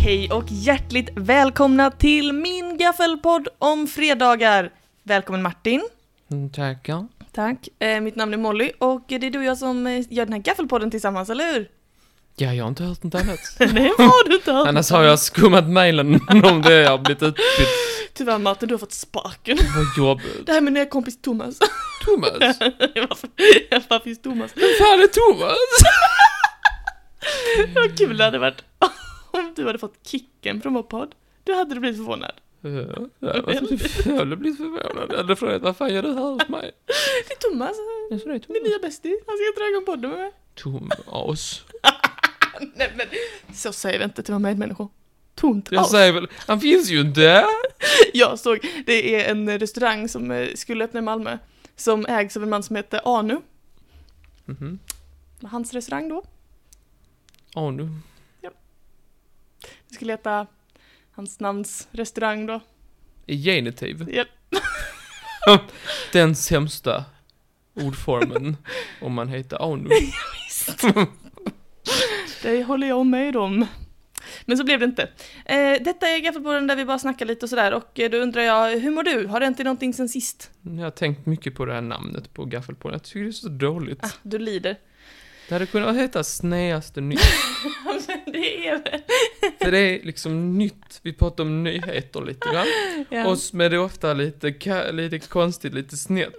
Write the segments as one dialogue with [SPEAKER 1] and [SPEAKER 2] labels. [SPEAKER 1] Hej och hjärtligt välkomna till min gaffelpodd om fredagar! Välkommen Martin!
[SPEAKER 2] Mm, Tackar.
[SPEAKER 1] Tack! Eh, mitt namn är Molly och det är du och jag som eh, gör den här gaffelpodden tillsammans, eller hur?
[SPEAKER 2] Ja, jag har inte hört något annat.
[SPEAKER 1] Nej, har du inte hört.
[SPEAKER 2] Annars har jag skummat mejlen om det jag har blivit utbytt.
[SPEAKER 1] Tyvärr Martin, du har fått sparken.
[SPEAKER 2] Vad jobbigt.
[SPEAKER 1] Det här med nya kompis Thomas.
[SPEAKER 2] Thomas?
[SPEAKER 1] Varför, varför finns Thomas?
[SPEAKER 2] Vem fan är Thomas?
[SPEAKER 1] Vad kul det hade varit om du hade fått kicken från vår podd. Du hade du blivit förvånad.
[SPEAKER 2] Ja, Jag hade blivit förvånad. Eller frågat, vad fan gör du här hos mig?
[SPEAKER 1] Det är Thomas, eh,
[SPEAKER 2] Jag sa, det är
[SPEAKER 1] min
[SPEAKER 2] Thomas.
[SPEAKER 1] nya bästis. Han ska dra igång podden med mig.
[SPEAKER 2] Thomas.
[SPEAKER 1] Nej men, så säger vi inte till våra medmänniskor. Tomt
[SPEAKER 2] Jag
[SPEAKER 1] as.
[SPEAKER 2] säger väl, han finns ju inte.
[SPEAKER 1] Jag såg, det är en restaurang som eh, skulle öppna i Malmö, som ägs av en man som heter Anu.
[SPEAKER 2] Mhm.
[SPEAKER 1] Det var Hans restaurang då.
[SPEAKER 2] Åh nu.
[SPEAKER 1] Vi skulle heta hans namns restaurang då.
[SPEAKER 2] I genitiv.
[SPEAKER 1] Japp.
[SPEAKER 2] Den sämsta ordformen om man heter Anu.
[SPEAKER 1] Det håller jag med om. Men så blev det inte. Eh, detta är Gaffelpodden där vi bara snackar lite och sådär och eh, då undrar jag, hur mår du? Har det hänt dig någonting sen sist?
[SPEAKER 2] Jag har tänkt mycket på det här namnet på gaffelpodden. Jag tycker det är så dåligt.
[SPEAKER 1] Ah, du lider.
[SPEAKER 2] Det hade kunnat heta Sneaste nytt.
[SPEAKER 1] det är väl...
[SPEAKER 2] För det är liksom nytt. Vi pratar om nyheter lite grann.
[SPEAKER 1] Ja.
[SPEAKER 2] Och med det är ofta lite, ka- lite konstigt, lite snett.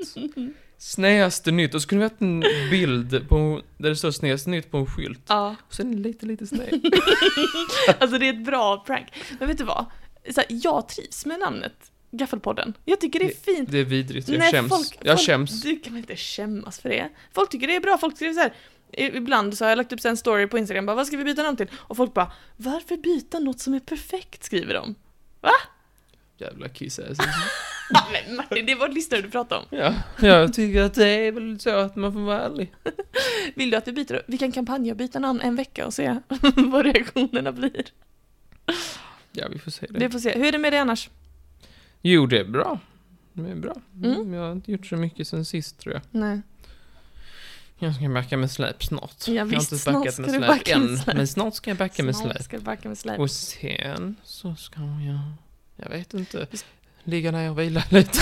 [SPEAKER 2] Sneaste nytt. Och så kunde vi haft en bild på, där det står sneaste nytt på en skylt.
[SPEAKER 1] ja.
[SPEAKER 2] Och sen är det lite, lite sned.
[SPEAKER 1] Alltså det är ett bra prank. Men vet du vad? Så här, jag trivs med namnet Gaffelpodden. Jag tycker det är fint.
[SPEAKER 2] Det är vidrigt. Jag skäms.
[SPEAKER 1] folk-
[SPEAKER 2] jag
[SPEAKER 1] folk-
[SPEAKER 2] skäms.
[SPEAKER 1] Du kan väl inte skämmas för det? Folk tycker det är bra, folk skriver så här. i- Ibland så har jag lagt upp så här en story på Instagram, bara, vad ska vi byta namn till? Och folk bara, varför byta något som är perfekt? Skriver de.
[SPEAKER 2] Jävla kiss
[SPEAKER 1] Ja, men Martin, det var lyssnare du pratade om.
[SPEAKER 2] Ja, jag tycker att det är väl så att man får vara ärlig.
[SPEAKER 1] Vill du att vi byter? Vi kan kampanja och byta namn en vecka och se vad reaktionerna blir.
[SPEAKER 2] Ja, vi får se det.
[SPEAKER 1] Vi får se. Hur är det med dig annars?
[SPEAKER 2] Jo, det är bra. Det är bra.
[SPEAKER 1] Mm.
[SPEAKER 2] Jag har inte gjort så mycket sen sist tror jag.
[SPEAKER 1] Nej.
[SPEAKER 2] Jag ska backa med släp snart.
[SPEAKER 1] Ja,
[SPEAKER 2] jag
[SPEAKER 1] visst,
[SPEAKER 2] har inte
[SPEAKER 1] snart
[SPEAKER 2] backat
[SPEAKER 1] ska
[SPEAKER 2] med
[SPEAKER 1] du
[SPEAKER 2] släp
[SPEAKER 1] backa med
[SPEAKER 2] än,
[SPEAKER 1] släp.
[SPEAKER 2] men snart ska jag backa med släp.
[SPEAKER 1] Ska du backa med släp.
[SPEAKER 2] Och sen så ska jag, jag vet inte, ligga ner och vila lite.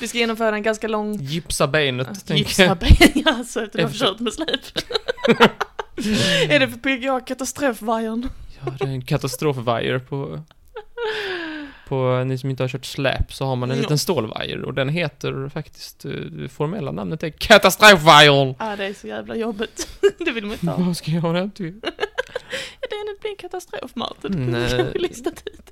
[SPEAKER 1] Vi ska genomföra en ganska lång
[SPEAKER 2] Gipsa benet, tänker
[SPEAKER 1] Gipsa
[SPEAKER 2] jag.
[SPEAKER 1] ben, alltså efter du har
[SPEAKER 2] Efter-
[SPEAKER 1] försökt med släp. är det för PGA katastrofvajern?
[SPEAKER 2] Ja, det är en katastrofvajer på... På ni som inte har kört släp så har man en
[SPEAKER 1] Ja.
[SPEAKER 2] liten stålvajer och den heter faktiskt, eh, det formella namnet är katastrofvajern.
[SPEAKER 1] Ja, ah, det är så jävla jobbigt. det vill man inte ha.
[SPEAKER 2] Vad ska jag ha den till?
[SPEAKER 1] Det är en- blir en katastrof, Martin.
[SPEAKER 2] Mm, Nej.
[SPEAKER 1] Kan vi lista dit.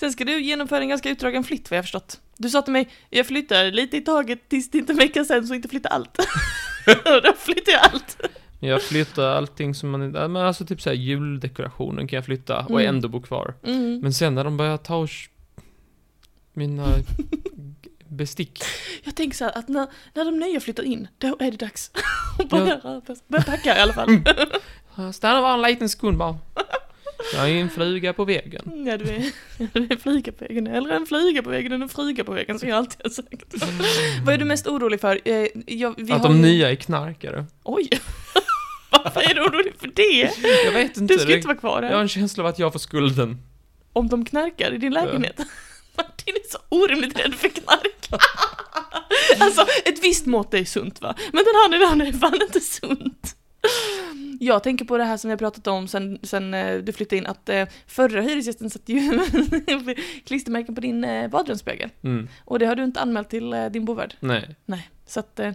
[SPEAKER 1] Sen ska du genomföra en ganska utdragen flytt, vad jag har förstått. Du sa till mig, jag flyttar lite i taget tills det inte är en vecka sen, så inte flytta allt. Och då flyttar jag allt.
[SPEAKER 2] Jag flyttar allting som man inte, men alltså typ såhär juldekorationen kan jag flytta och
[SPEAKER 1] Mm.
[SPEAKER 2] ändå bo kvar.
[SPEAKER 1] Mm.
[SPEAKER 2] Men sen när de börjar ta och sh- mina g- bestick.
[SPEAKER 1] Jag tänker så här, att när, när de nya flyttar in, då är det dags att börja,
[SPEAKER 2] Ja. Mm.
[SPEAKER 1] röra på sig. börja packa i alla fall.
[SPEAKER 2] Jag Stannar bara en liten sekund bara. Jag är en fluga på väggen.
[SPEAKER 1] Ja, du är, du är en flyga på väggen. Hellre en flyga på väggen än en flyga på väggen, som jag alltid har sagt. Vad är du mest orolig för? Eh, jag, vi
[SPEAKER 2] Mm. att
[SPEAKER 1] har
[SPEAKER 2] de
[SPEAKER 1] ju-
[SPEAKER 2] nya är knarkare.
[SPEAKER 1] Oj! Varför är du orolig för det?
[SPEAKER 2] Jag vet inte.
[SPEAKER 1] Du ska
[SPEAKER 2] det-
[SPEAKER 1] inte vara kvar
[SPEAKER 2] jag har
[SPEAKER 1] här.
[SPEAKER 2] en känsla av att jag får skulden.
[SPEAKER 1] Om de knarkar i din lägenhet. Martin är så orimligt rädd för knark. Alltså, ett visst mått är sunt va? Men den här nivån är fan inte sunt. Jag tänker på det här som vi har pratat om sen, sen eh, du flyttade in, att eh, förra hyresgästen satte ju klistermärken på din eh, badrumsspegel.
[SPEAKER 2] Mm.
[SPEAKER 1] Och det har du inte anmält till eh, din bovärd?
[SPEAKER 2] Nej.
[SPEAKER 1] Nej. Så att, eh,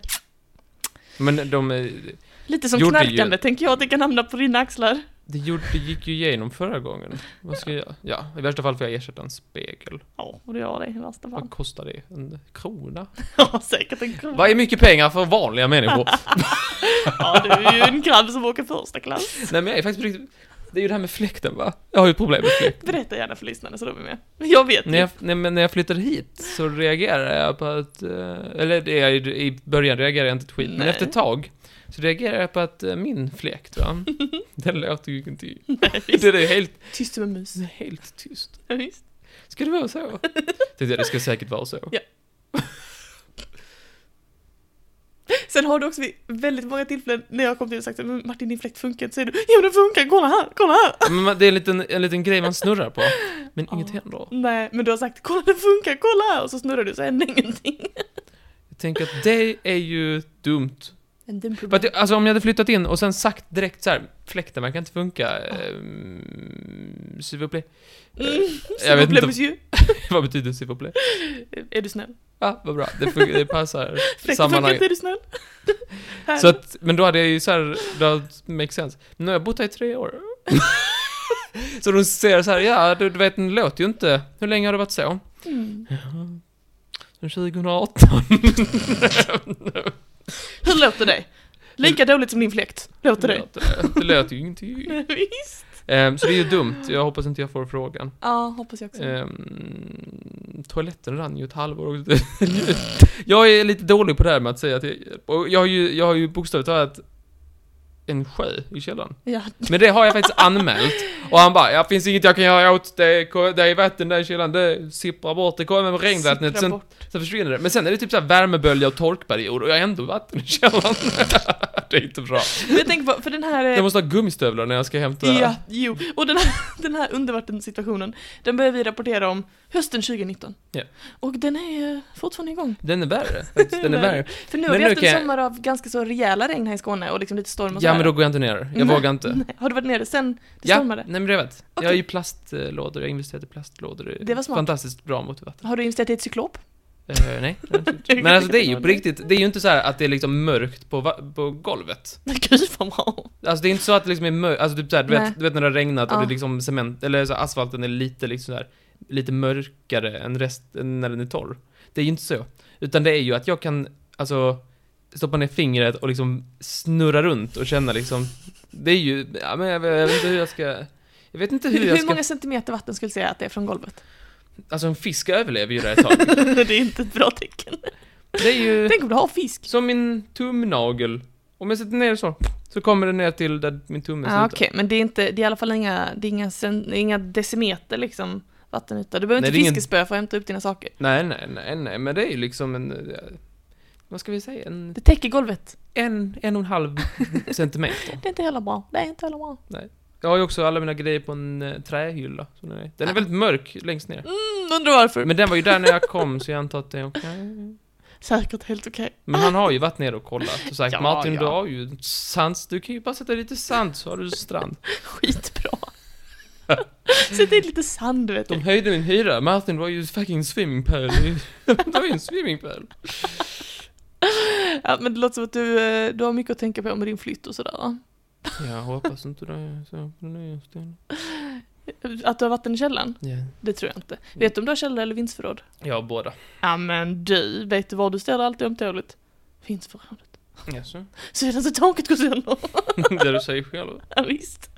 [SPEAKER 2] Men de, eh, är-
[SPEAKER 1] lite som
[SPEAKER 2] Gjorde
[SPEAKER 1] knarkande tänker jag att det kan hamna på dina axlar.
[SPEAKER 2] det, gjorde, det gick ju igenom förra gången. Vad ska jag Ja, i värsta fall får jag ersätta en spegel.
[SPEAKER 1] Ja, och det gör det i värsta fall.
[SPEAKER 2] Vad kostar det? En krona?
[SPEAKER 1] Ja, säkert en krabb.
[SPEAKER 2] Vad är mycket pengar för vanliga människor?
[SPEAKER 1] Ja, du är ju en krabb som åker första klass.
[SPEAKER 2] Nej men jag är faktiskt på riktigt... Det är ju det här med fläkten va? Jag har ju ett problem med fläkt.
[SPEAKER 1] Berätta gärna för lyssnarna så de är med. Jag vet
[SPEAKER 2] När
[SPEAKER 1] ju.
[SPEAKER 2] jag, nej, men när jag flyttade hit så reagerade jag på att, eh, eller det, jag, i början reagerade jag inte ett skit, men
[SPEAKER 1] Nej.
[SPEAKER 2] efter ett tag så reagerade jag på att eh, min fläkt va, den låter ju inte,
[SPEAKER 1] Nej,
[SPEAKER 2] den är helt,
[SPEAKER 1] Tyst som en mus.
[SPEAKER 2] den är helt tyst.
[SPEAKER 1] Ja, visst.
[SPEAKER 2] Ska det vara så? Tänkte jag, det ska säkert vara så.
[SPEAKER 1] Ja. Sen har du också vid väldigt många tillfällen när jag kom till dig och sagt men Martin din fläkt funkar inte, säger du jo den funkar, kolla här, kolla här.
[SPEAKER 2] Men man- det är en liten, en liten grej man snurrar på. Men inget
[SPEAKER 1] Ja.
[SPEAKER 2] händer.
[SPEAKER 1] Nej, men du har sagt kolla den funkar, kolla här och så snurrar du så händer ingenting.
[SPEAKER 2] Jag tänker att det är ju dumt.
[SPEAKER 1] Men den
[SPEAKER 2] För att, jag- alltså om jag hade flyttat in och sen sagt direkt så här, fläkten verkar inte funka.
[SPEAKER 1] Ja.
[SPEAKER 2] ehm, S'il vous plaît.
[SPEAKER 1] mm,
[SPEAKER 2] jag vet inte-
[SPEAKER 1] Ju.
[SPEAKER 2] Vad betyder s'il vous plaît?
[SPEAKER 1] Är du snäll?
[SPEAKER 2] Ja, vad bra. Det, fun- det passar
[SPEAKER 1] Fläkten funkar
[SPEAKER 2] sammanhanget.
[SPEAKER 1] inte, är du snäll? Här.
[SPEAKER 2] Så att, men då hade jag ju så här, det hade make sense. Men nu har jag bott här i tre år. så de ser så här, ja du, du vet den låter ju inte. Hur länge har det varit så?
[SPEAKER 1] mm.
[SPEAKER 2] Sen 2018.
[SPEAKER 1] Hur låter det? Lika
[SPEAKER 2] Mm.
[SPEAKER 1] dåligt som din fläkt, låter det?
[SPEAKER 2] Det låter ju ingenting.
[SPEAKER 1] Visst?
[SPEAKER 2] Ehm, så det är ju dumt. Jag hoppas inte jag får frågan.
[SPEAKER 1] Ja, hoppas jag också.
[SPEAKER 2] Eh, Ehm, toaletten rann ju ett halvår också. jag är lite dålig på det här med att säga att jag, och jag har ju, jag har ju bokstavligt talat en sjö i källaren.
[SPEAKER 1] Ja,
[SPEAKER 2] Men det har jag faktiskt anmält. Och han bara, ja finns inget jag kan göra åt det, ko- det är vatten där i källaren, det sipprar bort, det kommer med regnvattnet,
[SPEAKER 1] sippra
[SPEAKER 2] sen,
[SPEAKER 1] bort.
[SPEAKER 2] sen försvinner det. Men sen är det typ så här värmebölja och torkperiod och jag har ändå vatten i källaren. det är inte bra.
[SPEAKER 1] Men jag tänker på, för den här... eh,
[SPEAKER 2] Jag måste ha gummistövlar när jag ska hämta...
[SPEAKER 1] Ja, jo. Och den här, den här undervattenssituationen, den börjar vi rapportera om hösten 2019.
[SPEAKER 2] Ja.
[SPEAKER 1] Och den är eh, fortfarande igång.
[SPEAKER 2] Den är värre, faktiskt. Den är värre.
[SPEAKER 1] För nu har
[SPEAKER 2] Men
[SPEAKER 1] vi
[SPEAKER 2] nu
[SPEAKER 1] haft
[SPEAKER 2] kan
[SPEAKER 1] en
[SPEAKER 2] jag-
[SPEAKER 1] sommar av ganska så rejäla regn här i Skåne och liksom lite storm och
[SPEAKER 2] Ja men
[SPEAKER 1] sådär.
[SPEAKER 2] då går jag inte ner, jag
[SPEAKER 1] Nej,
[SPEAKER 2] vågar inte.
[SPEAKER 1] Nej. Har du varit nere sen det
[SPEAKER 2] ja,
[SPEAKER 1] stormade?
[SPEAKER 2] nej men det vet. Jag har
[SPEAKER 1] Okej.
[SPEAKER 2] ju plastlådor, jag har investerat i plastlådor.
[SPEAKER 1] Det var smart.
[SPEAKER 2] Fantastiskt bra mot vatten.
[SPEAKER 1] Har du investerat i ett cyklop?
[SPEAKER 2] Eh, nej, det har jag inte gjort. Men alltså det är ju på riktigt, det är ju inte så här att det är liksom mörkt på, va- på golvet.
[SPEAKER 1] Gud vad bra!
[SPEAKER 2] Alltså det är inte så att det liksom är mörkt, alltså typ så här, du,
[SPEAKER 1] Nej.
[SPEAKER 2] vet, du vet när det har regnat och
[SPEAKER 1] Ja.
[SPEAKER 2] det är liksom cement, eller så här, asfalten är lite liksom så här, lite mörkare än rest, än när den är torr. Det är ju inte så. Utan det är ju att jag kan, alltså, stoppa ner fingret och liksom snurra runt och känna liksom, det är ju, ja men jag, jag vet inte hur jag ska, jag vet inte hur,
[SPEAKER 1] Hur,
[SPEAKER 2] jag
[SPEAKER 1] hur
[SPEAKER 2] ska
[SPEAKER 1] många centimeter vatten skulle du säga att det är från golvet?
[SPEAKER 2] Alltså en fisk överlever ju det ett tag.
[SPEAKER 1] det är inte ett bra tecken.
[SPEAKER 2] Det är ju
[SPEAKER 1] Tänk om du har fisk?
[SPEAKER 2] som min tumnagel. Om jag sätter ner så, så kommer det ner till där min tumme
[SPEAKER 1] Ja, Ah, Okej, men det är, inte, det är i alla fall inga, det är inga, cen- inga decimeter liksom vattenyta. Du behöver
[SPEAKER 2] Nej, det är
[SPEAKER 1] inte
[SPEAKER 2] ingen-
[SPEAKER 1] fiskespö för att hämta upp dina saker.
[SPEAKER 2] Nej, nej, nej, nej, men det är ju liksom en... eh, Vad ska vi säga? En,
[SPEAKER 1] Det täcker golvet.
[SPEAKER 2] en, en och en halv centimeter.
[SPEAKER 1] Det är inte heller bra. Det är inte heller bra.
[SPEAKER 2] Jag har ju också alla mina grejer på en eh, trähylla. som Den är, den är
[SPEAKER 1] Ah.
[SPEAKER 2] väldigt mörk längst ner.
[SPEAKER 1] Mm, undrar varför.
[SPEAKER 2] Men den var ju där när jag kom, så jag antar att det är okej.
[SPEAKER 1] Säkert helt okej.
[SPEAKER 2] Men han har ju varit nere och kollat och sagt
[SPEAKER 1] Ja,
[SPEAKER 2] Martin, du
[SPEAKER 1] ja.
[SPEAKER 2] har ju sand, du kan ju bara sätta lite sand så har du strand.
[SPEAKER 1] Skitbra. Sätt in lite sand, du vet.
[SPEAKER 2] De höjde min hyra, Martin var ju fucking swimming pool. Det var ju en swimming pool.
[SPEAKER 1] Ja, men det låter som att du, eh, du har mycket att tänka på med din flytt och sådär. va?
[SPEAKER 2] Jag hoppas inte det är så på nya stunden.
[SPEAKER 1] Att du har vatten i källaren?
[SPEAKER 2] Ja.
[SPEAKER 1] Det tror jag inte. Vet du om du har källare eller vindsförråd?
[SPEAKER 2] Jag har båda.
[SPEAKER 1] Ja men du, vet du var du ställer allt ömtåligt? Vindsförrådet.
[SPEAKER 2] Jaså?
[SPEAKER 1] Sedan så taket går sönder.
[SPEAKER 2] Det du säger själv.
[SPEAKER 1] Ja, visst.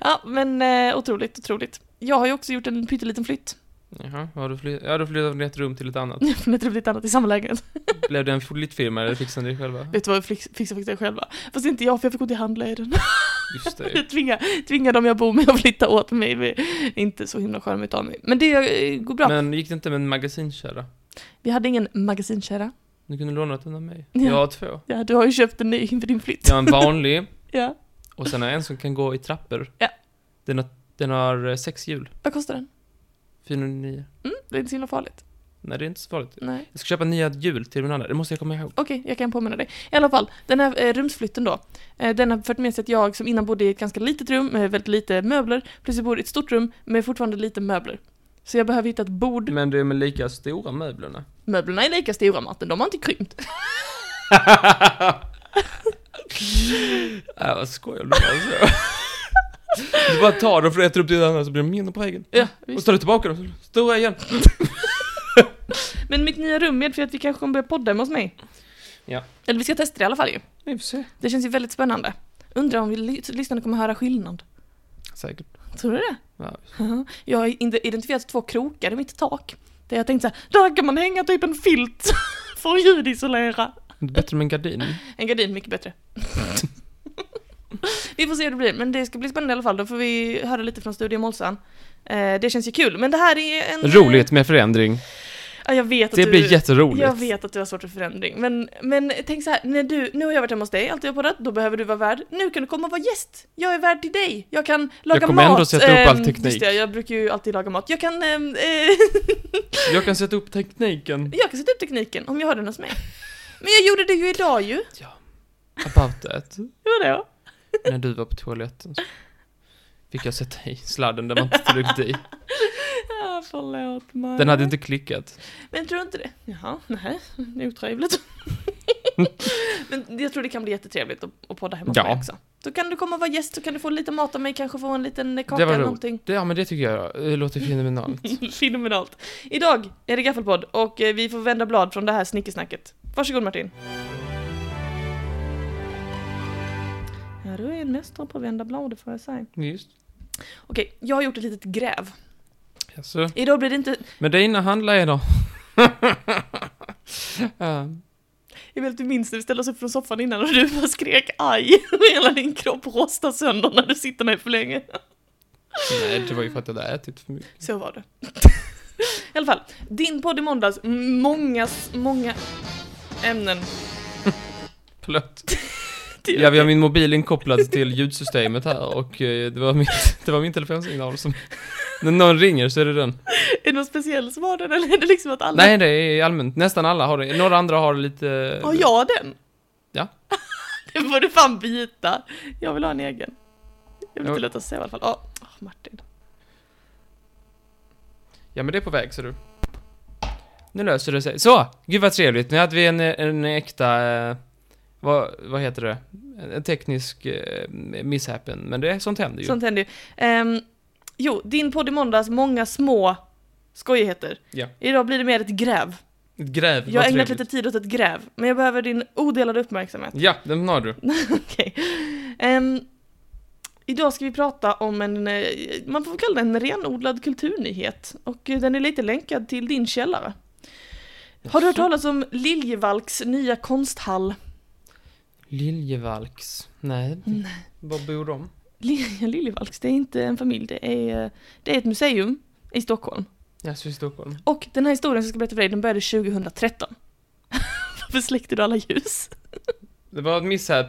[SPEAKER 1] Ja men eh, otroligt, otroligt. Jag har ju också gjort en pytteliten flytt.
[SPEAKER 2] Jaha, har du flyttat, ja, du flyttat från ett rum till ett annat.
[SPEAKER 1] Från ett rum till ett annat i samma lägenhet.
[SPEAKER 2] Mm. Blev det en flyttfirma eller fixade ni det själva?
[SPEAKER 1] Vet du vad, jag fix- fixar faktiskt det själva. Fast inte jag, för jag fick gå till handleden.
[SPEAKER 2] Just det.
[SPEAKER 1] Jag tvinga, tvinga dem jag bor med att flytta åt mig. Det är Inte så himla charmigt av mig. Men det eh, går bra.
[SPEAKER 2] Men gick det inte med en magasinkärra?
[SPEAKER 1] Vi hade ingen magasinkärra.
[SPEAKER 2] Du kunde låna den av mig.
[SPEAKER 1] Ja.
[SPEAKER 2] Jag har två.
[SPEAKER 1] Ja, du har ju köpt en ny inför din flytt.
[SPEAKER 2] Jag har en vanlig
[SPEAKER 1] Ja.
[SPEAKER 2] och sen har jag en som kan gå i trappor.
[SPEAKER 1] Ja.
[SPEAKER 2] Den har, den har eh, sex hjul.
[SPEAKER 1] Vad kostar den?
[SPEAKER 2] 409.
[SPEAKER 1] Mm, det är inte så himla farligt.
[SPEAKER 2] Nej, det är inte så farligt.
[SPEAKER 1] Nej.
[SPEAKER 2] Jag ska köpa nya hjul till min andra, det måste jag komma ihåg.
[SPEAKER 1] Okej, jag kan påminna dig. I alla fall, den här eh, rumsflytten då. Eh, den har fört med sig att jag som innan bodde i ett ganska litet rum med väldigt lite möbler, plötsligt bor i ett stort rum med fortfarande lite möbler. Så jag behöver hitta ett bord.
[SPEAKER 2] Men det är med lika stora möblerna.
[SPEAKER 1] Möblerna är lika stora Martin, de har inte krympt.
[SPEAKER 2] äh, vad skojar du med alltså? Du bara tar dem från ett rum till ett annat så blir de mindre på vägen.
[SPEAKER 1] Ja,
[SPEAKER 2] Och så
[SPEAKER 1] visst.
[SPEAKER 2] tar du tillbaka dem, så stora igen.
[SPEAKER 1] Men mitt nya rum medför att vi kanske kommer börja podda hemma hos mig.
[SPEAKER 2] Ja.
[SPEAKER 1] Eller vi ska testa det i alla fall ju.
[SPEAKER 2] Vi får se.
[SPEAKER 1] Det känns ju väldigt spännande. Undrar om vi ly- lyssnarna kommer höra skillnad.
[SPEAKER 2] Säkert.
[SPEAKER 1] Tror du det?
[SPEAKER 2] Ja.
[SPEAKER 1] Jag har inte identifierat två krokar i mitt tak. Där jag tänkte så här, där kan man hänga typ en filt för att ljudisolera.
[SPEAKER 2] Inte bättre med en gardin.
[SPEAKER 1] En gardin, mycket bättre. vi får se hur det blir, men det ska bli spännande i alla fall. Då får vi höra lite från Studio Målsan. Eh, det känns ju kul, men det här är en...
[SPEAKER 2] Roligt med förändring.
[SPEAKER 1] Ja, jag vet att
[SPEAKER 2] Det
[SPEAKER 1] du...
[SPEAKER 2] blir jätteroligt.
[SPEAKER 1] Jag vet att du har svårt för förändring, men, men tänk så här, när du, nu har jag varit hemma hos dig, alltid jag poddat, då behöver du vara värd. Nu kan du komma och vara gäst! Jag är värd till dig! Jag kan laga
[SPEAKER 2] kommer
[SPEAKER 1] mat!
[SPEAKER 2] ändå sätta upp all
[SPEAKER 1] Ehm,
[SPEAKER 2] teknik.
[SPEAKER 1] Just det, jag brukar ju alltid laga mat. Jag kan, ehm, eh,
[SPEAKER 2] Jag kan sätta upp tekniken.
[SPEAKER 1] jag kan sätta upp tekniken om jag har den hos mig. Men jag gjorde det ju idag ju!
[SPEAKER 2] About that.
[SPEAKER 1] Det var det ja.
[SPEAKER 2] När du var på toaletten så fick jag sätta i sladden där man inte tryckte i.
[SPEAKER 1] ja förlåt mig.
[SPEAKER 2] Den hade inte klickat.
[SPEAKER 1] Men tror du inte det? Jaha, nej, det är otrevligt. Men jag tror det kan bli jättetrevligt att, att podda hemma hos
[SPEAKER 2] Ja.
[SPEAKER 1] mig också. Då kan du komma och vara gäst, så kan du få lite mat av mig, kanske få en liten kaka
[SPEAKER 2] Det var
[SPEAKER 1] eller
[SPEAKER 2] roligt.
[SPEAKER 1] någonting.
[SPEAKER 2] Det, ja, men det tycker jag eh, låter fenomenalt.
[SPEAKER 1] Fenomenalt. Idag är det Gaffelpodd och eh, vi får vända blad från det här snickesnacket. Varsågod Martin. Ja, du är en mästare på att vända blad, det får jag säga.
[SPEAKER 2] Just.
[SPEAKER 1] Okej, jag har gjort ett litet gräv.
[SPEAKER 2] Jaså.
[SPEAKER 1] Idag blir det inte...
[SPEAKER 2] Men dina handleder. uh,
[SPEAKER 1] Jag vet att du minns när vi ställde oss upp från soffan innan och du bara skrek aj och hela din kropp rostar sönder när du sitter ner för länge.
[SPEAKER 2] nej, det var ju för att jag hade ätit för mycket.
[SPEAKER 1] Så var det. I alla fall, din podd i måndags, många, många ämnen.
[SPEAKER 2] Förlåt.
[SPEAKER 1] till-
[SPEAKER 2] Ja, vi har min mobil inkopplad till ljudsystemet här och eh, det var min, det var min telefonsignal som... När någon ringer så är det den.
[SPEAKER 1] Är det någon speciell som har den eller är det liksom att alla...
[SPEAKER 2] Nej, det är allmänt. Nästan alla har det. Några andra har lite...
[SPEAKER 1] Har jag den?
[SPEAKER 2] Eh, Ja.
[SPEAKER 1] det får du fan byta. Jag vill ha en egen. Jag vill
[SPEAKER 2] Ja.
[SPEAKER 1] inte låta säga i alla fall. Åh, åh, Martin.
[SPEAKER 2] Ja, men det är på väg, ser du. Nu löser det sig. Så! Gud vad trevligt. Nu hade vi en, en äkta... eh, Vad, vad heter det? En, en teknisk eh, misshappen. Men det, sånt händer ju.
[SPEAKER 1] Sånt händer ju. Ehm, jo, din podd i måndags, många små skojigheter.
[SPEAKER 2] Ja.
[SPEAKER 1] Idag blir det mer ett gräv.
[SPEAKER 2] Ett gräv,
[SPEAKER 1] jag
[SPEAKER 2] vad
[SPEAKER 1] har ägnat
[SPEAKER 2] trevligt.
[SPEAKER 1] lite tid åt ett gräv, men jag behöver din odelade uppmärksamhet.
[SPEAKER 2] Ja, den har du.
[SPEAKER 1] Okej. Ehm, idag ska vi prata om en, eh, man får väl kalla den en renodlad kulturnyhet. Och eh, den är lite länkad till din källare. Har du hört talas om Liljevalchs nya konsthall?
[SPEAKER 2] Liljevalchs. Nej. Var bor de?
[SPEAKER 1] Lilja Liljevalchs, det är inte en familj, det är, eh, det är ett museum i Stockholm.
[SPEAKER 2] Jaså, i Stockholm?
[SPEAKER 1] Och den här historien som jag ska berätta för dig, den började 2013. Varför släckte du alla ljus?
[SPEAKER 2] Det var ett misshap.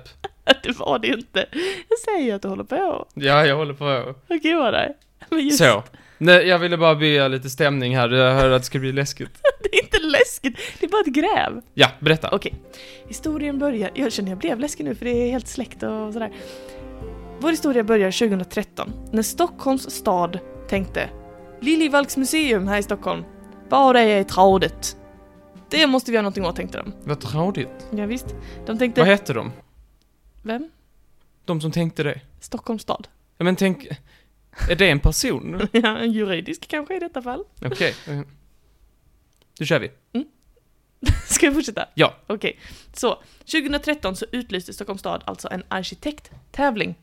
[SPEAKER 1] Det var det inte. Jag säger ju att du håller på.
[SPEAKER 2] Ja, jag håller på.
[SPEAKER 1] Jag kan göra det. Men just
[SPEAKER 2] Så. Nej, jag ville bara bygga lite stämning här. Jag hörde att det skulle bli läskigt.
[SPEAKER 1] Det är inte läskigt, det är bara ett gräv.
[SPEAKER 2] Ja, berätta.
[SPEAKER 1] Okej, historien börjar... Jag känner jag blev läskig nu för det är helt släkt och sådär. Vår historia börjar 2013 när Stockholms stad tänkte Liljevalchs museum här i Stockholm, bara är tradigt. Det måste vi göra någonting åt tänkte de.
[SPEAKER 2] Vad tradigt.
[SPEAKER 1] Ja, visst. De tänkte...
[SPEAKER 2] Vad hette de?
[SPEAKER 1] Vem?
[SPEAKER 2] De som tänkte det?
[SPEAKER 1] Stockholms stad.
[SPEAKER 2] Ja, men tänk, är det en person?
[SPEAKER 1] Ja, en juridisk kanske i detta fall.
[SPEAKER 2] Okej. Okay. Då kör vi.
[SPEAKER 1] Ska jag fortsätta?
[SPEAKER 2] Ja.
[SPEAKER 1] Okej. Så, 2013 så utlyste Stockholms stad alltså en arkitekttävling.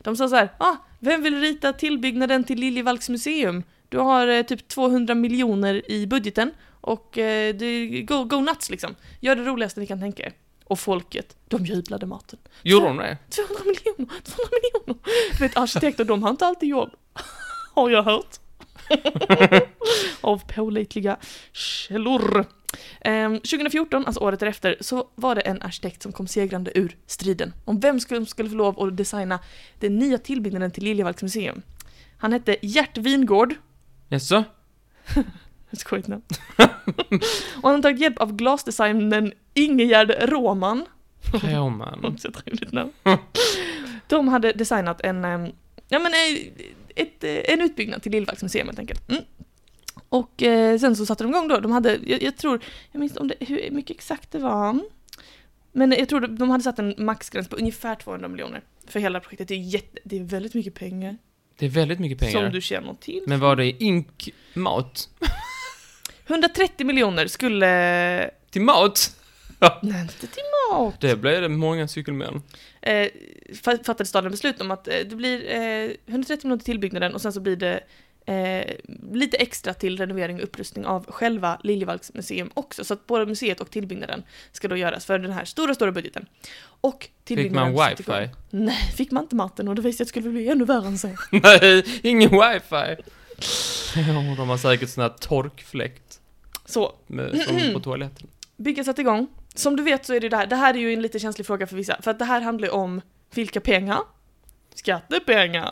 [SPEAKER 1] De sa så här, ah, vem vill rita tillbyggnaden till Liljevalchs museum? Du har eh, typ 200 miljoner i budgeten och eh, du, go, go nuts liksom. Gör det roligaste ni kan tänka er. Och folket, de jublade maten.
[SPEAKER 2] Gjorde de det?
[SPEAKER 1] 200 miljoner, 200 miljoner! Du vet, arkitekter de har inte alltid jobb. Har jag hört. Av pålitliga källor. Ehm, 2014, alltså året efter, så var det en arkitekt som kom segrande ur striden om vem som skulle få lov att designa den nya tillbyggnaden till Liljevalchs museum. Han hette Gert Wingårdh,
[SPEAKER 2] Jaså?
[SPEAKER 1] ett skojigt namn. Och han har tagit hjälp av glasdesignern Ingegerd Råman.
[SPEAKER 2] Roman.
[SPEAKER 1] Också ett trevligt namn.
[SPEAKER 2] Mm.
[SPEAKER 1] De hade designat en, eh, ja men eh, ett, eh, en utbyggnad till Lillvalchs museum helt enkelt. Mm. Och eh, sen så satte de igång då, de hade, jag, jag tror, jag minns inte om det, hur mycket exakt det var. Men jag tror de hade satt en maxgräns på ungefär 200 miljoner för hela projektet. Det är, jätte, det är väldigt mycket pengar,
[SPEAKER 2] Det är väldigt mycket
[SPEAKER 1] som
[SPEAKER 2] pengar.
[SPEAKER 1] du känner till.
[SPEAKER 2] Men var det inkmat?
[SPEAKER 1] 130 miljoner skulle...
[SPEAKER 2] Till mat?
[SPEAKER 1] Nej, inte till mat!
[SPEAKER 2] Det blev det många cykelmän.
[SPEAKER 1] eh, fa- fattade staden beslut om att eh, det blir eh, 130 miljoner till tillbyggnaden och sen så blir det eh, lite extra till renovering och upprustning av själva Liljevalchs museum också. Så att både museet och tillbyggnaden ska då göras för den här stora, stora budgeten. Och
[SPEAKER 2] Fick
[SPEAKER 1] tillbyggnaden...
[SPEAKER 2] man
[SPEAKER 1] satte igång-
[SPEAKER 2] wifi?
[SPEAKER 1] Nej, fick man inte Martin och det visste jag skulle bli ännu värre än så.
[SPEAKER 2] Nej, ingen wifi. Ja, de har säkert sån här torkfläkt.
[SPEAKER 1] Så,
[SPEAKER 2] med, som på toaletten.
[SPEAKER 1] bygget satte igång. Som du vet så är det ju det här, det här är ju en lite känslig fråga för vissa, för att det här handlar ju om vilka pengar? Skattepengar!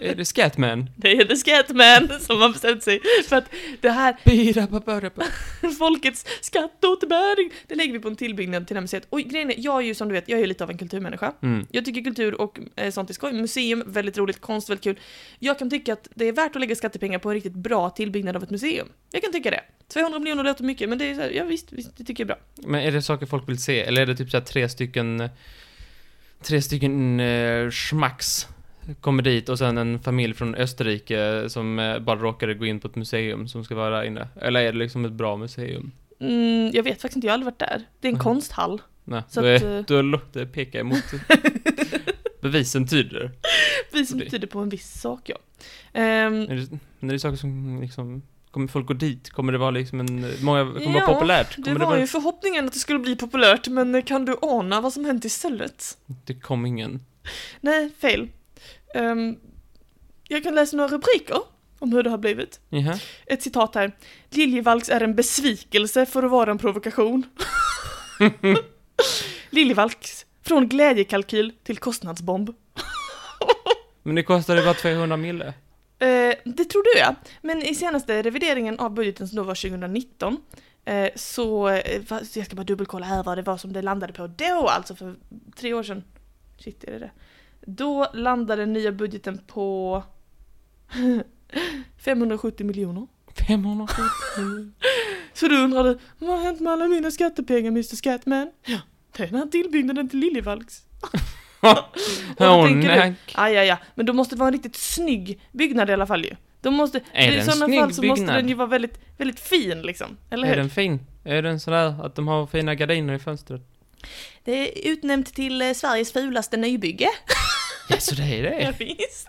[SPEAKER 2] Är det Scatman?
[SPEAKER 1] Det är The Scatman som har bestämt sig för att det här
[SPEAKER 2] Birapapapapa.
[SPEAKER 1] folkets skatteåterbäring, det lägger vi på en tillbyggnad till det här museet. Och grejen är, jag är ju som du vet, jag är ju lite av en kulturmänniska.
[SPEAKER 2] Mm.
[SPEAKER 1] Jag tycker kultur och eh, sånt är skoj. Museum, väldigt roligt, konst, väldigt kul. Jag kan tycka att det är värt att lägga skattepengar på en riktigt bra tillbyggnad av ett museum. Jag kan tycka det. 200 miljoner låter mycket, men det är så här, ja visst, visst, det tycker jag är bra.
[SPEAKER 2] Men är det saker folk vill se? Eller är det typ så här tre stycken... Tre stycken eh, schmacks kommer dit och sen en familj från Österrike som eh, bara råkade gå in på ett museum som ska vara där inne. Eller är det liksom ett bra museum?
[SPEAKER 1] Mm, jag vet faktiskt inte, jag har aldrig varit där. Det är en
[SPEAKER 2] Mhm.
[SPEAKER 1] konsthall.
[SPEAKER 2] Nej,
[SPEAKER 1] Så
[SPEAKER 2] då,
[SPEAKER 1] att,
[SPEAKER 2] är,
[SPEAKER 1] eh,
[SPEAKER 2] då låter det peka emot. Bevisen tyder.
[SPEAKER 1] Vi som
[SPEAKER 2] Det-
[SPEAKER 1] tyder på en viss sak, ja. Ehm,
[SPEAKER 2] Är det, men är det saker som liksom... Kommer folk gå dit? Kommer det vara liksom en... Många, kommer det
[SPEAKER 1] Ja,
[SPEAKER 2] vara populärt? Kommer
[SPEAKER 1] det var ju förhoppningen att det skulle bli populärt, men kan du ana vad som hänt istället?
[SPEAKER 2] Det kom ingen.
[SPEAKER 1] Nej, fel. Ehm, jag kan läsa några rubriker om hur det har blivit.
[SPEAKER 2] Jaha.
[SPEAKER 1] Ett citat här. Liljevalchs är en besvikelse för att vara en provokation. Liljevalchs. Från glädjekalkyl till kostnadsbomb.
[SPEAKER 2] Men det kostade bara 200 mille.
[SPEAKER 1] Eh, det tror du ja. Men i senaste revideringen av budgeten som då var 2019 eh, så, eh, va- så jag ska bara dubbelkolla här vad det var som det landade på då, alltså för tre år sedan. Shit, är det det? Då landade den nya budgeten på 570 miljoner.
[SPEAKER 2] 500
[SPEAKER 1] Så du undrade, vad har hänt med alla mina skattepengar Mr Scatman? Ja, det är den här tillbyggnaden till Liljevalchs. då
[SPEAKER 2] Åh
[SPEAKER 1] tänker du-
[SPEAKER 2] nej.
[SPEAKER 1] Aj, aj, aj. men då måste det vara en riktigt snygg byggnad i alla fall ju. Då måste,
[SPEAKER 2] Är
[SPEAKER 1] I
[SPEAKER 2] det en
[SPEAKER 1] sådana
[SPEAKER 2] snygg
[SPEAKER 1] fall så måste
[SPEAKER 2] byggnad?
[SPEAKER 1] den ju vara väldigt, väldigt fin liksom, eller hur?
[SPEAKER 2] Är den fin? Är den sådär att de har fina gardiner i fönstret?
[SPEAKER 1] Det är utnämnt till eh, Sveriges fulaste nybygge.
[SPEAKER 2] Ja, så det är
[SPEAKER 1] Ja,
[SPEAKER 2] det?
[SPEAKER 1] visst.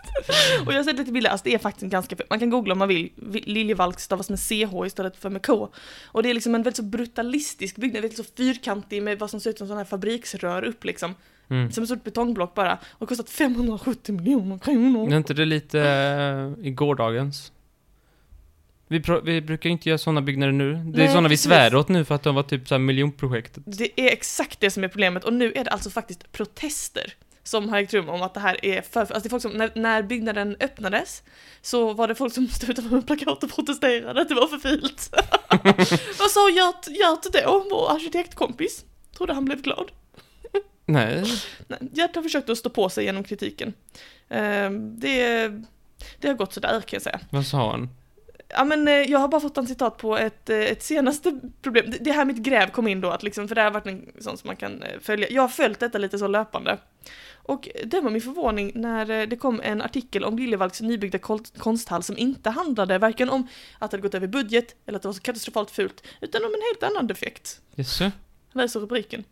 [SPEAKER 1] Och jag har sett lite bilder, alltså det är faktiskt en ganska Man kan googla om man vill, Vi- Liljevalchs stavas med CH istället för med K. Och det är liksom en väldigt så brutalistisk byggnad, väldigt så fyrkantig med vad som ser ut som sådana här fabriksrör upp liksom.
[SPEAKER 2] Mm.
[SPEAKER 1] Som ett stort betongblock bara. Och kostat 570 miljoner kronor.
[SPEAKER 2] Är inte det lite eh, i gårdagens? Vi, pro- vi brukar ju inte göra sådana byggnader nu. Det är
[SPEAKER 1] Nej,
[SPEAKER 2] såna sådana vi
[SPEAKER 1] precis.
[SPEAKER 2] svär åt nu för att de var typ såhär miljonprojektet.
[SPEAKER 1] Det är exakt det som är problemet och nu är det alltså faktiskt protester som har ägt rum om att det här är för... Alltså det är folk som, när, när byggnaden öppnades så var det folk som stod utanför med plakat och protesterade att det var för fult. Vad sa Gert, Gert då, vår arkitektkompis? Trodde han blev glad.
[SPEAKER 2] Nej.
[SPEAKER 1] Nej, Gert har försökt att stå på sig genom kritiken. Ehm, det, det har gått sådär kan jag säga.
[SPEAKER 2] Vad sa han?
[SPEAKER 1] Ja men eh, jag har bara fått en citat på ett, eh, ett senaste problem. Det- Det här mitt gräv kom in då, att liksom, för det här har varit en sån som man kan eh, följa. Jag har följt detta lite så löpande. Och det var min förvåning när eh, det kom en artikel om Liljevalchs nybyggda kol- konsthall som inte handlade varken om att det hade gått över budget eller att det var så katastrofalt fult, utan om en helt annan defekt.
[SPEAKER 2] Jössö?
[SPEAKER 1] Jag läser rubriken.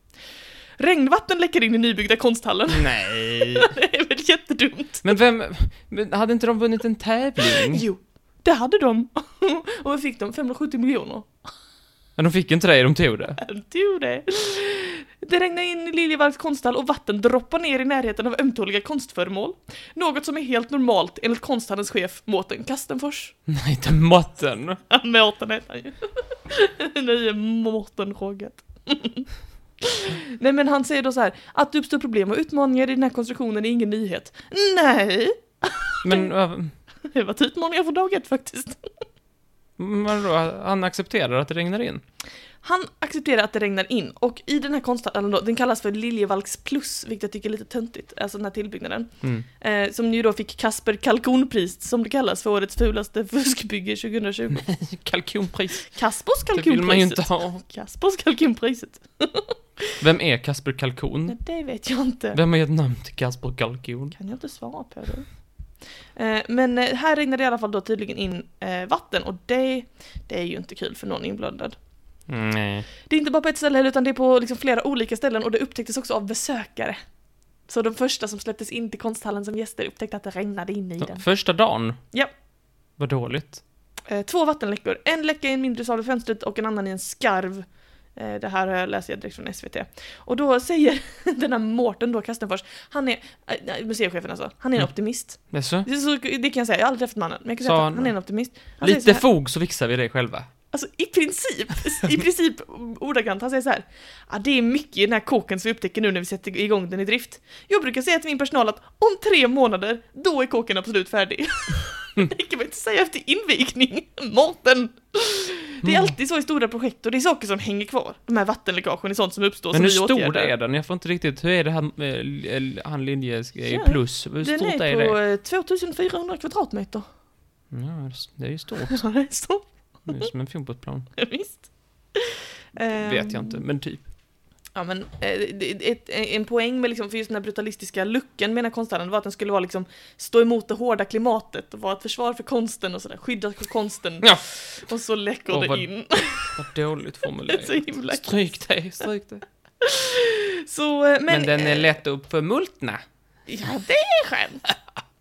[SPEAKER 1] Regnvatten läcker in i nybyggda konsthallen.
[SPEAKER 2] Nej.
[SPEAKER 1] det är väl jättedumt?
[SPEAKER 2] Men vem... Men hade inte de vunnit en tävling?
[SPEAKER 1] Jo, det hade de. Och vad fick de? 570 miljoner.
[SPEAKER 2] Men de fick inte det, de tog det.
[SPEAKER 1] Du det. Det regnar in i Liljevalchs konsthall och vatten droppar ner i närheten av ömtåliga konstföremål. Något som är helt normalt enligt konsthallens chef Mårten Kastenfors.
[SPEAKER 2] Nej, inte måtten.
[SPEAKER 1] Mårten heter han ju. Nye Mårten Roget. Nej men han säger då så här, att det uppstår problem och utmaningar i den här konstruktionen är ingen nyhet. Nej,
[SPEAKER 2] Men vad-
[SPEAKER 1] det har varit utmaningar från dag ett faktiskt.
[SPEAKER 2] vadå? Han accepterar att det regnar in?
[SPEAKER 1] Han accepterar att det regnar in och i den här konsthallen då, den kallas för Liljevalchs plus, vilket jag tycker är lite töntigt, alltså den här tillbyggnaden.
[SPEAKER 2] Mm.
[SPEAKER 1] Eh, som ju då fick Kasper Kalkonpris, som det kallas, för årets fulaste fuskbygge 2020.
[SPEAKER 2] Kalkonpris.
[SPEAKER 1] Kaspers
[SPEAKER 2] Mm. Det vill man ju
[SPEAKER 1] Kalkonpriset.
[SPEAKER 2] inte ha.
[SPEAKER 1] Kaspers Kalkonpriset.
[SPEAKER 2] Vem är Kasper Kalkon?
[SPEAKER 1] Nej, det vet jag inte.
[SPEAKER 2] Mm. Vem har gett namn till Kasper Kalkon?
[SPEAKER 1] Kan jag inte svara på det. Eh, Men eh, här regnar det i alla fall då tydligen in eh, vatten och det, det är ju inte kul för någon inblandad.
[SPEAKER 2] Nej.
[SPEAKER 1] Det är inte bara på ett ställe heller, utan det är på liksom flera olika ställen och det upptäcktes också av besökare. Så de första som släpptes in till konsthallen som gäster upptäckte att det regnade in i den.
[SPEAKER 2] Första dagen?
[SPEAKER 1] Ja.
[SPEAKER 2] Vad dåligt.
[SPEAKER 1] Eh, två vattenläckor. En läcka i en mindre sal vid fönstret och en annan i en skarv. Eh, det här har jag- läser jag direkt från SVT. Och då säger den här Mårten då, Kastenfors, han är, eh, nej, museichefen alltså, han är en
[SPEAKER 2] Mm.
[SPEAKER 1] optimist.
[SPEAKER 2] Jaså?
[SPEAKER 1] Det, är så, det kan jag säga, jag har aldrig träffat mannen, men jag kan
[SPEAKER 2] Sa
[SPEAKER 1] säga att
[SPEAKER 2] han-
[SPEAKER 1] han, han är en optimist. Han säger så
[SPEAKER 2] Lite
[SPEAKER 1] här-
[SPEAKER 2] fog så fixar vi det själva.
[SPEAKER 1] Alltså i princip, i princip ordagrant, han säger så här. Ja, det är mycket i den här kåken som vi upptäcker nu när vi sätter igång den i drift. Jag brukar säga till min personal att om tre månader, då är kåken absolut färdig.
[SPEAKER 2] Mm.
[SPEAKER 1] det kan man inte säga efter invigning, Mårten! Det är
[SPEAKER 2] Mm.
[SPEAKER 1] alltid så i stora projekt och det är saker som hänger kvar. De här vattenläckagen är sånt som uppstår
[SPEAKER 2] Men hur
[SPEAKER 1] som vi
[SPEAKER 2] stor
[SPEAKER 1] åtgärdar.
[SPEAKER 2] är den? Jag får inte riktigt, hur är det här med eh, han Lindjes eh,
[SPEAKER 1] Ja,
[SPEAKER 2] plus? Hur
[SPEAKER 1] Den
[SPEAKER 2] stort
[SPEAKER 1] är
[SPEAKER 2] är
[SPEAKER 1] på
[SPEAKER 2] det?
[SPEAKER 1] eh, 2400 kvadratmeter.
[SPEAKER 2] Ja, det är ju stort.
[SPEAKER 1] Ja, det är så.
[SPEAKER 2] Det är som en fotbollsplan.
[SPEAKER 1] Visst.
[SPEAKER 2] Vet jag inte, men typ.
[SPEAKER 1] Ja men eh, det- ett, en poäng med liksom, för just den här brutalistiska looken menar konstnären var att den skulle vara liksom stå emot det hårda klimatet och vara ett försvar för konsten och sådär, skydda konsten.
[SPEAKER 2] Ja.
[SPEAKER 1] Och så läcker
[SPEAKER 2] Och
[SPEAKER 1] det
[SPEAKER 2] vad-
[SPEAKER 1] in.
[SPEAKER 2] Vad dåligt formulerat.
[SPEAKER 1] Så himla-
[SPEAKER 2] Stryk det, stryk det.
[SPEAKER 1] Så, eh, men,
[SPEAKER 2] Men, den är
[SPEAKER 1] eh,
[SPEAKER 2] lätt att förmultna.
[SPEAKER 1] Ja, det är skönt!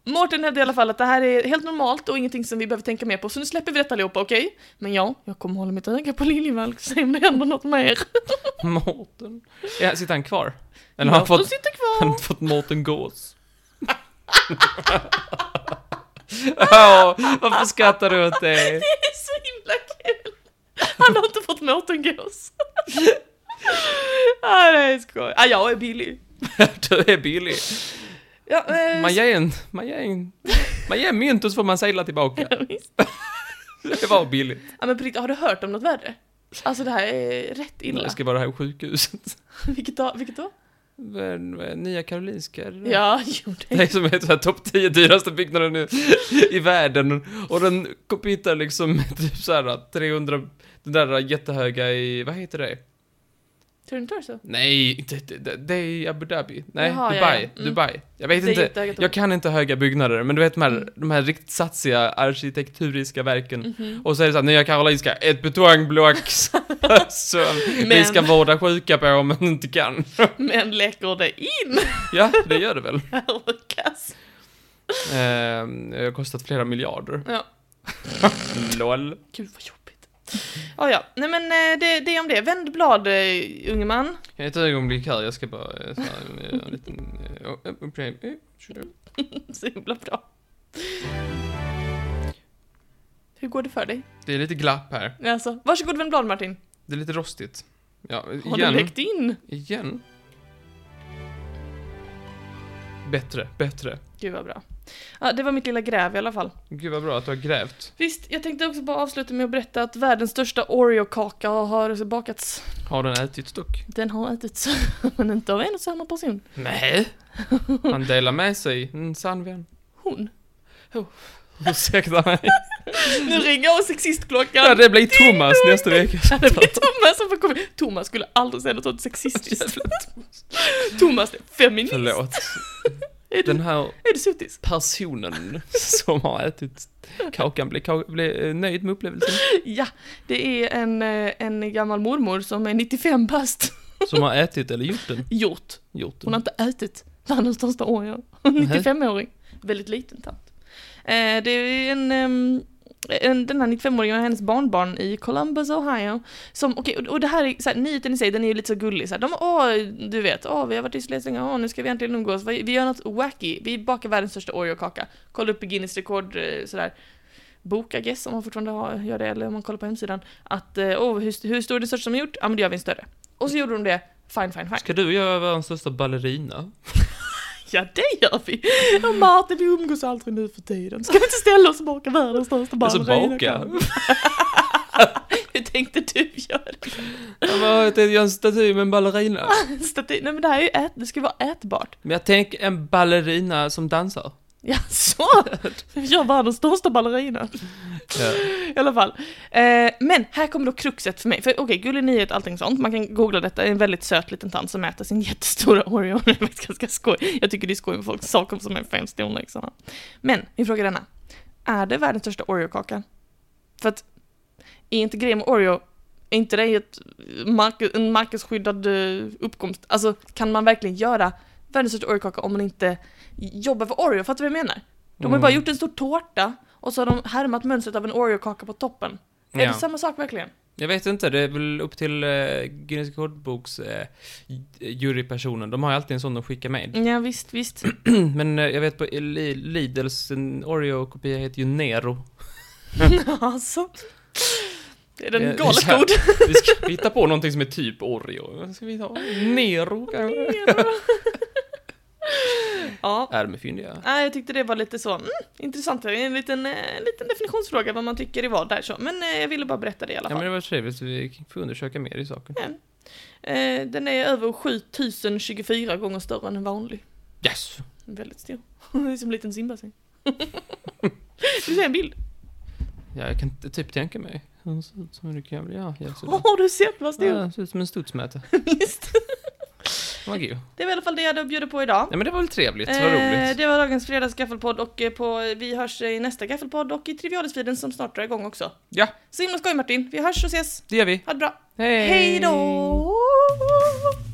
[SPEAKER 1] Mårten hävdade i alla fall att det här är helt normalt och ingenting som vi behöver tänka mer på, så nu släpper vi detta allihopa, okej? Men ja, jag kommer hålla mitt öga på Liljevalch och se om det händer något mer.
[SPEAKER 2] Mårten. Ja, sitter han kvar? Eller har han fått,
[SPEAKER 1] Mårten sitter
[SPEAKER 2] han
[SPEAKER 1] kvar!
[SPEAKER 2] har fått Mårten Gås? Ja, varför skrattar du åt det?
[SPEAKER 1] Det är så himla kul! Han har inte fått Mårten Gås. ah, det är skoj. Ah, jag är billig.
[SPEAKER 2] Du är billig.
[SPEAKER 1] Ja, eh,
[SPEAKER 2] Man ger en, man ger en, man ger mynt och så får man segla tillbaka.
[SPEAKER 1] ja, visst.
[SPEAKER 2] Det var billigt.
[SPEAKER 1] ja, men på riktigt, har du hört om något värre? Alltså det här är rätt illa.
[SPEAKER 2] Det ska vara det här sjukhuset.
[SPEAKER 1] Vilket då? Vilket då?
[SPEAKER 2] Men, men, Nya Karolinska, är det det?
[SPEAKER 1] Ja, jo det.
[SPEAKER 2] Det är som är så här topp 10 dyraste byggnaden nu i världen. Och den kopierar liksom typ så här 300, den där jättehöga i, vad heter det?
[SPEAKER 1] Tror du inte det är så?
[SPEAKER 2] Nej, inte, det, det är i Abu Dhabi. Nej,
[SPEAKER 1] Jaha,
[SPEAKER 2] Dubai.
[SPEAKER 1] ja, ja. Mm.
[SPEAKER 2] Dubai. Jag vet
[SPEAKER 1] Det är
[SPEAKER 2] inte.
[SPEAKER 1] jättehöga torn.
[SPEAKER 2] Jag kan inte höga byggnader, men du vet de här,
[SPEAKER 1] Mm.
[SPEAKER 2] de här riktigt satsiga arkitekturiska verken.
[SPEAKER 1] Mhm.
[SPEAKER 2] Och så är det såhär, Nya Karolinska, ett betongblock som vi
[SPEAKER 1] Men-
[SPEAKER 2] ska vårda sjuka på men inte kan.
[SPEAKER 1] Men läcker det in?
[SPEAKER 2] Ja, det gör det väl.
[SPEAKER 1] Herre kass.
[SPEAKER 2] Ehm, Det har kostat flera miljarder.
[SPEAKER 1] Ja.
[SPEAKER 2] LOL.
[SPEAKER 1] Gud vad jobbigt. Ja, ja. Nej men eh, det, det är om det. Vänd blad, eh, unge man.
[SPEAKER 2] Ett ögonblick här, jag ska bara eh, så här, eh, göra en liten... eh, oh, eh, okej, eh, tjugo.
[SPEAKER 1] Så himla bra. Hur går det för dig?
[SPEAKER 2] Det är lite glapp här.
[SPEAKER 1] Alltså, varsågod vänd blad Martin.
[SPEAKER 2] Det är lite rostigt. Ja,
[SPEAKER 1] Har du
[SPEAKER 2] igen.
[SPEAKER 1] läckt in?
[SPEAKER 2] Igen. Bättre, bättre.
[SPEAKER 1] Gud vad bra. Ja, det var mitt lilla gräv i alla fall.
[SPEAKER 2] Gud vad bra att du har grävt.
[SPEAKER 1] Visst, jag tänkte också bara avsluta med att berätta att världens största Oreo-kaka har bakats.
[SPEAKER 2] Har den ätits dock?
[SPEAKER 1] Den har ätits, men inte av en och samma person.
[SPEAKER 2] Nej. Han delar med sig. En sann vän.
[SPEAKER 1] Hon.
[SPEAKER 2] Ursäkta mig.
[SPEAKER 1] Nu ringer hon sexistklockan.
[SPEAKER 2] Ja, det blir Thomas nästa vecka.
[SPEAKER 1] Det blir Thomas som får komma. Thomas skulle aldrig säga något sånt sexistiskt. Thomas är feminist.
[SPEAKER 2] Förlåt.
[SPEAKER 1] Är du,
[SPEAKER 2] Den här
[SPEAKER 1] är du sotis?
[SPEAKER 2] personen som har ätit kakan blir, ka- blir eh, nöjd med upplevelsen.
[SPEAKER 1] Ja, det är en, eh, en gammal mormor som är 95 bast.
[SPEAKER 2] Som har ätit eller gjort den.
[SPEAKER 1] Gjort.
[SPEAKER 2] Gjort den.
[SPEAKER 1] Hon har inte ätit världens största Oreo. Hon är 95-åring. Väldigt liten tant. Eh, det är en, ehm, en, den här 95-åringen och hennes barnbarn i Columbus, Ohio. Som, okej, och, och det här är, så här, nyheten i sig, den är ju lite så gullig. Så här, de, åh, du vet, åh, vi har varit isolerade så länge, åh, nu ska vi äntligen umgås. Vi, vi gör något wacky, vi bakar världens största Oreo-kaka. Kolla upp i Guinness rekord, eh, sådär. Bok, I guess, om man fortfarande har, gör det, eller om man kollar på hemsidan. Att, eh, åh, hur, hur stor är det största som gjort? Ja, men då gör vi en större. Och så gjorde de det, fine, fine, fine.
[SPEAKER 2] Ska du göra världens största ballerina?
[SPEAKER 1] Ja, det gör vi! Och Martin, vi umgås aldrig nu för tiden. Ska vi inte ställa oss och baka världens största
[SPEAKER 2] Alltså
[SPEAKER 1] ballerina?
[SPEAKER 2] baka?
[SPEAKER 1] Hur tänkte du göra?
[SPEAKER 2] Jag bara, jag tänkte göra en staty med en ballerina.
[SPEAKER 1] En Staty? Nej men det här är ju ät, det ska ju vara ätbart.
[SPEAKER 2] Men jag tänker en ballerina som dansar.
[SPEAKER 1] Ja, så! Vi gör världens största ballerina.
[SPEAKER 2] Ja.
[SPEAKER 1] I alla fall. Eh, men här kommer då kruxet för mig. För okej, gullig nyhet, allting sånt. Man kan googla detta. Det är en väldigt söt liten tant som äter sin jättestora Oreo. Det är faktiskt ganska skoj. Jag tycker det är skoj med folk saker som är fem storlek sådana. liksom. Men, min fråga är denna. Är det världens största Oreo-kaka? För att, är inte grejen med Oreo, är inte det ett mark en marknadsskyddad eh, uppkomst? Alltså, kan man verkligen göra världens största Oreo-kaka om man inte jobbar för Oreo? Fattar du vad jag menar? De har ju
[SPEAKER 2] Mm.
[SPEAKER 1] bara gjort en stor tårta och så har de härmat mönstret av en Oreo-kaka på toppen. Är
[SPEAKER 2] Ja.
[SPEAKER 1] det samma sak verkligen?
[SPEAKER 2] Jag vet inte, det är väl upp till eh, Guinness rekordboks eh, j- jurypersonen. De har ju alltid en sån de skickar med.
[SPEAKER 1] Ja, visst, visst.
[SPEAKER 2] Men eh, jag vet på Li- Lidls en Oreo-kopia heter ju Nero.
[SPEAKER 1] alltså. Det är den
[SPEAKER 2] Eh, det är så här.
[SPEAKER 1] galet god.
[SPEAKER 2] Vi ska hitta på någonting som är typ Oreo. Ska vi ta Nero kanske?
[SPEAKER 1] ja.
[SPEAKER 2] Är de fyndiga?
[SPEAKER 1] Nej, jag tyckte det var lite så, mm, intressant. Det är En liten, eh, en liten definitionsfråga vad man tycker i vad där så. Men eh, jag ville bara berätta det i alla
[SPEAKER 2] Ja
[SPEAKER 1] fall.
[SPEAKER 2] men det var trevligt, vi får undersöka mer i saken.
[SPEAKER 1] Eh, den är över 7024 gånger större än en vanlig.
[SPEAKER 2] Yes!
[SPEAKER 1] Den är Väldigt stor. Det är som en liten simbassäng. Du ser en bild.
[SPEAKER 2] Ja, jag kan t- typ tänka mig. Hon ser ut som en riktig jävla... Ja, jag ser
[SPEAKER 1] Har
[SPEAKER 2] det.
[SPEAKER 1] du sett vad
[SPEAKER 2] Ja,
[SPEAKER 1] stor?
[SPEAKER 2] den ser ut som en studsmätare.
[SPEAKER 1] Visst.
[SPEAKER 2] Vad god.
[SPEAKER 1] Det var i alla fall det jag hade att bjuda på idag.
[SPEAKER 2] Nej men det var väl trevligt, vad
[SPEAKER 1] Eh,
[SPEAKER 2] roligt.
[SPEAKER 1] det var dagens fredagsgaffelpodd och eh, på, vi hörs i nästa gaffelpodd och i Trivialisfiden som snart drar igång också.
[SPEAKER 2] Ja,
[SPEAKER 1] Så himla skoj Martin, vi hörs och ses.
[SPEAKER 2] det gör vi.
[SPEAKER 1] Ha det bra.
[SPEAKER 2] Hej!
[SPEAKER 1] Hej då!